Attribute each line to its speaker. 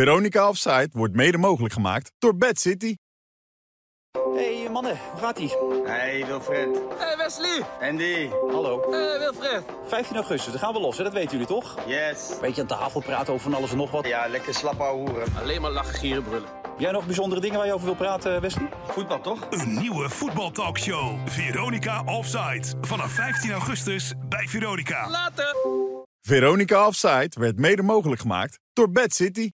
Speaker 1: Veronica Offside wordt mede mogelijk gemaakt door Bad City.
Speaker 2: hey, mannen, hoe gaat ie?
Speaker 3: Hey Wilfred,
Speaker 4: Hey Wesley!
Speaker 3: Andy,
Speaker 2: Hallo.
Speaker 4: Hey Wilfred!
Speaker 2: 15 augustus, dan gaan we los, hè? dat weten jullie toch?
Speaker 3: yes.
Speaker 2: Beetje aan tafel praten over van alles en nog wat.
Speaker 3: Ja, lekker slap ouwe hoeren.
Speaker 4: Alleen maar lachen, gieren, brullen.
Speaker 2: Heb jij nog bijzondere dingen waar je over wil praten, eh, Wesley?
Speaker 3: Voetbal toch?
Speaker 5: Een nieuwe voetbaltalkshow. Veronica Offside. Vanaf 15 augustus bij Veronica.
Speaker 4: Later!
Speaker 1: Veronica Offside werd mede mogelijk gemaakt door Bad City.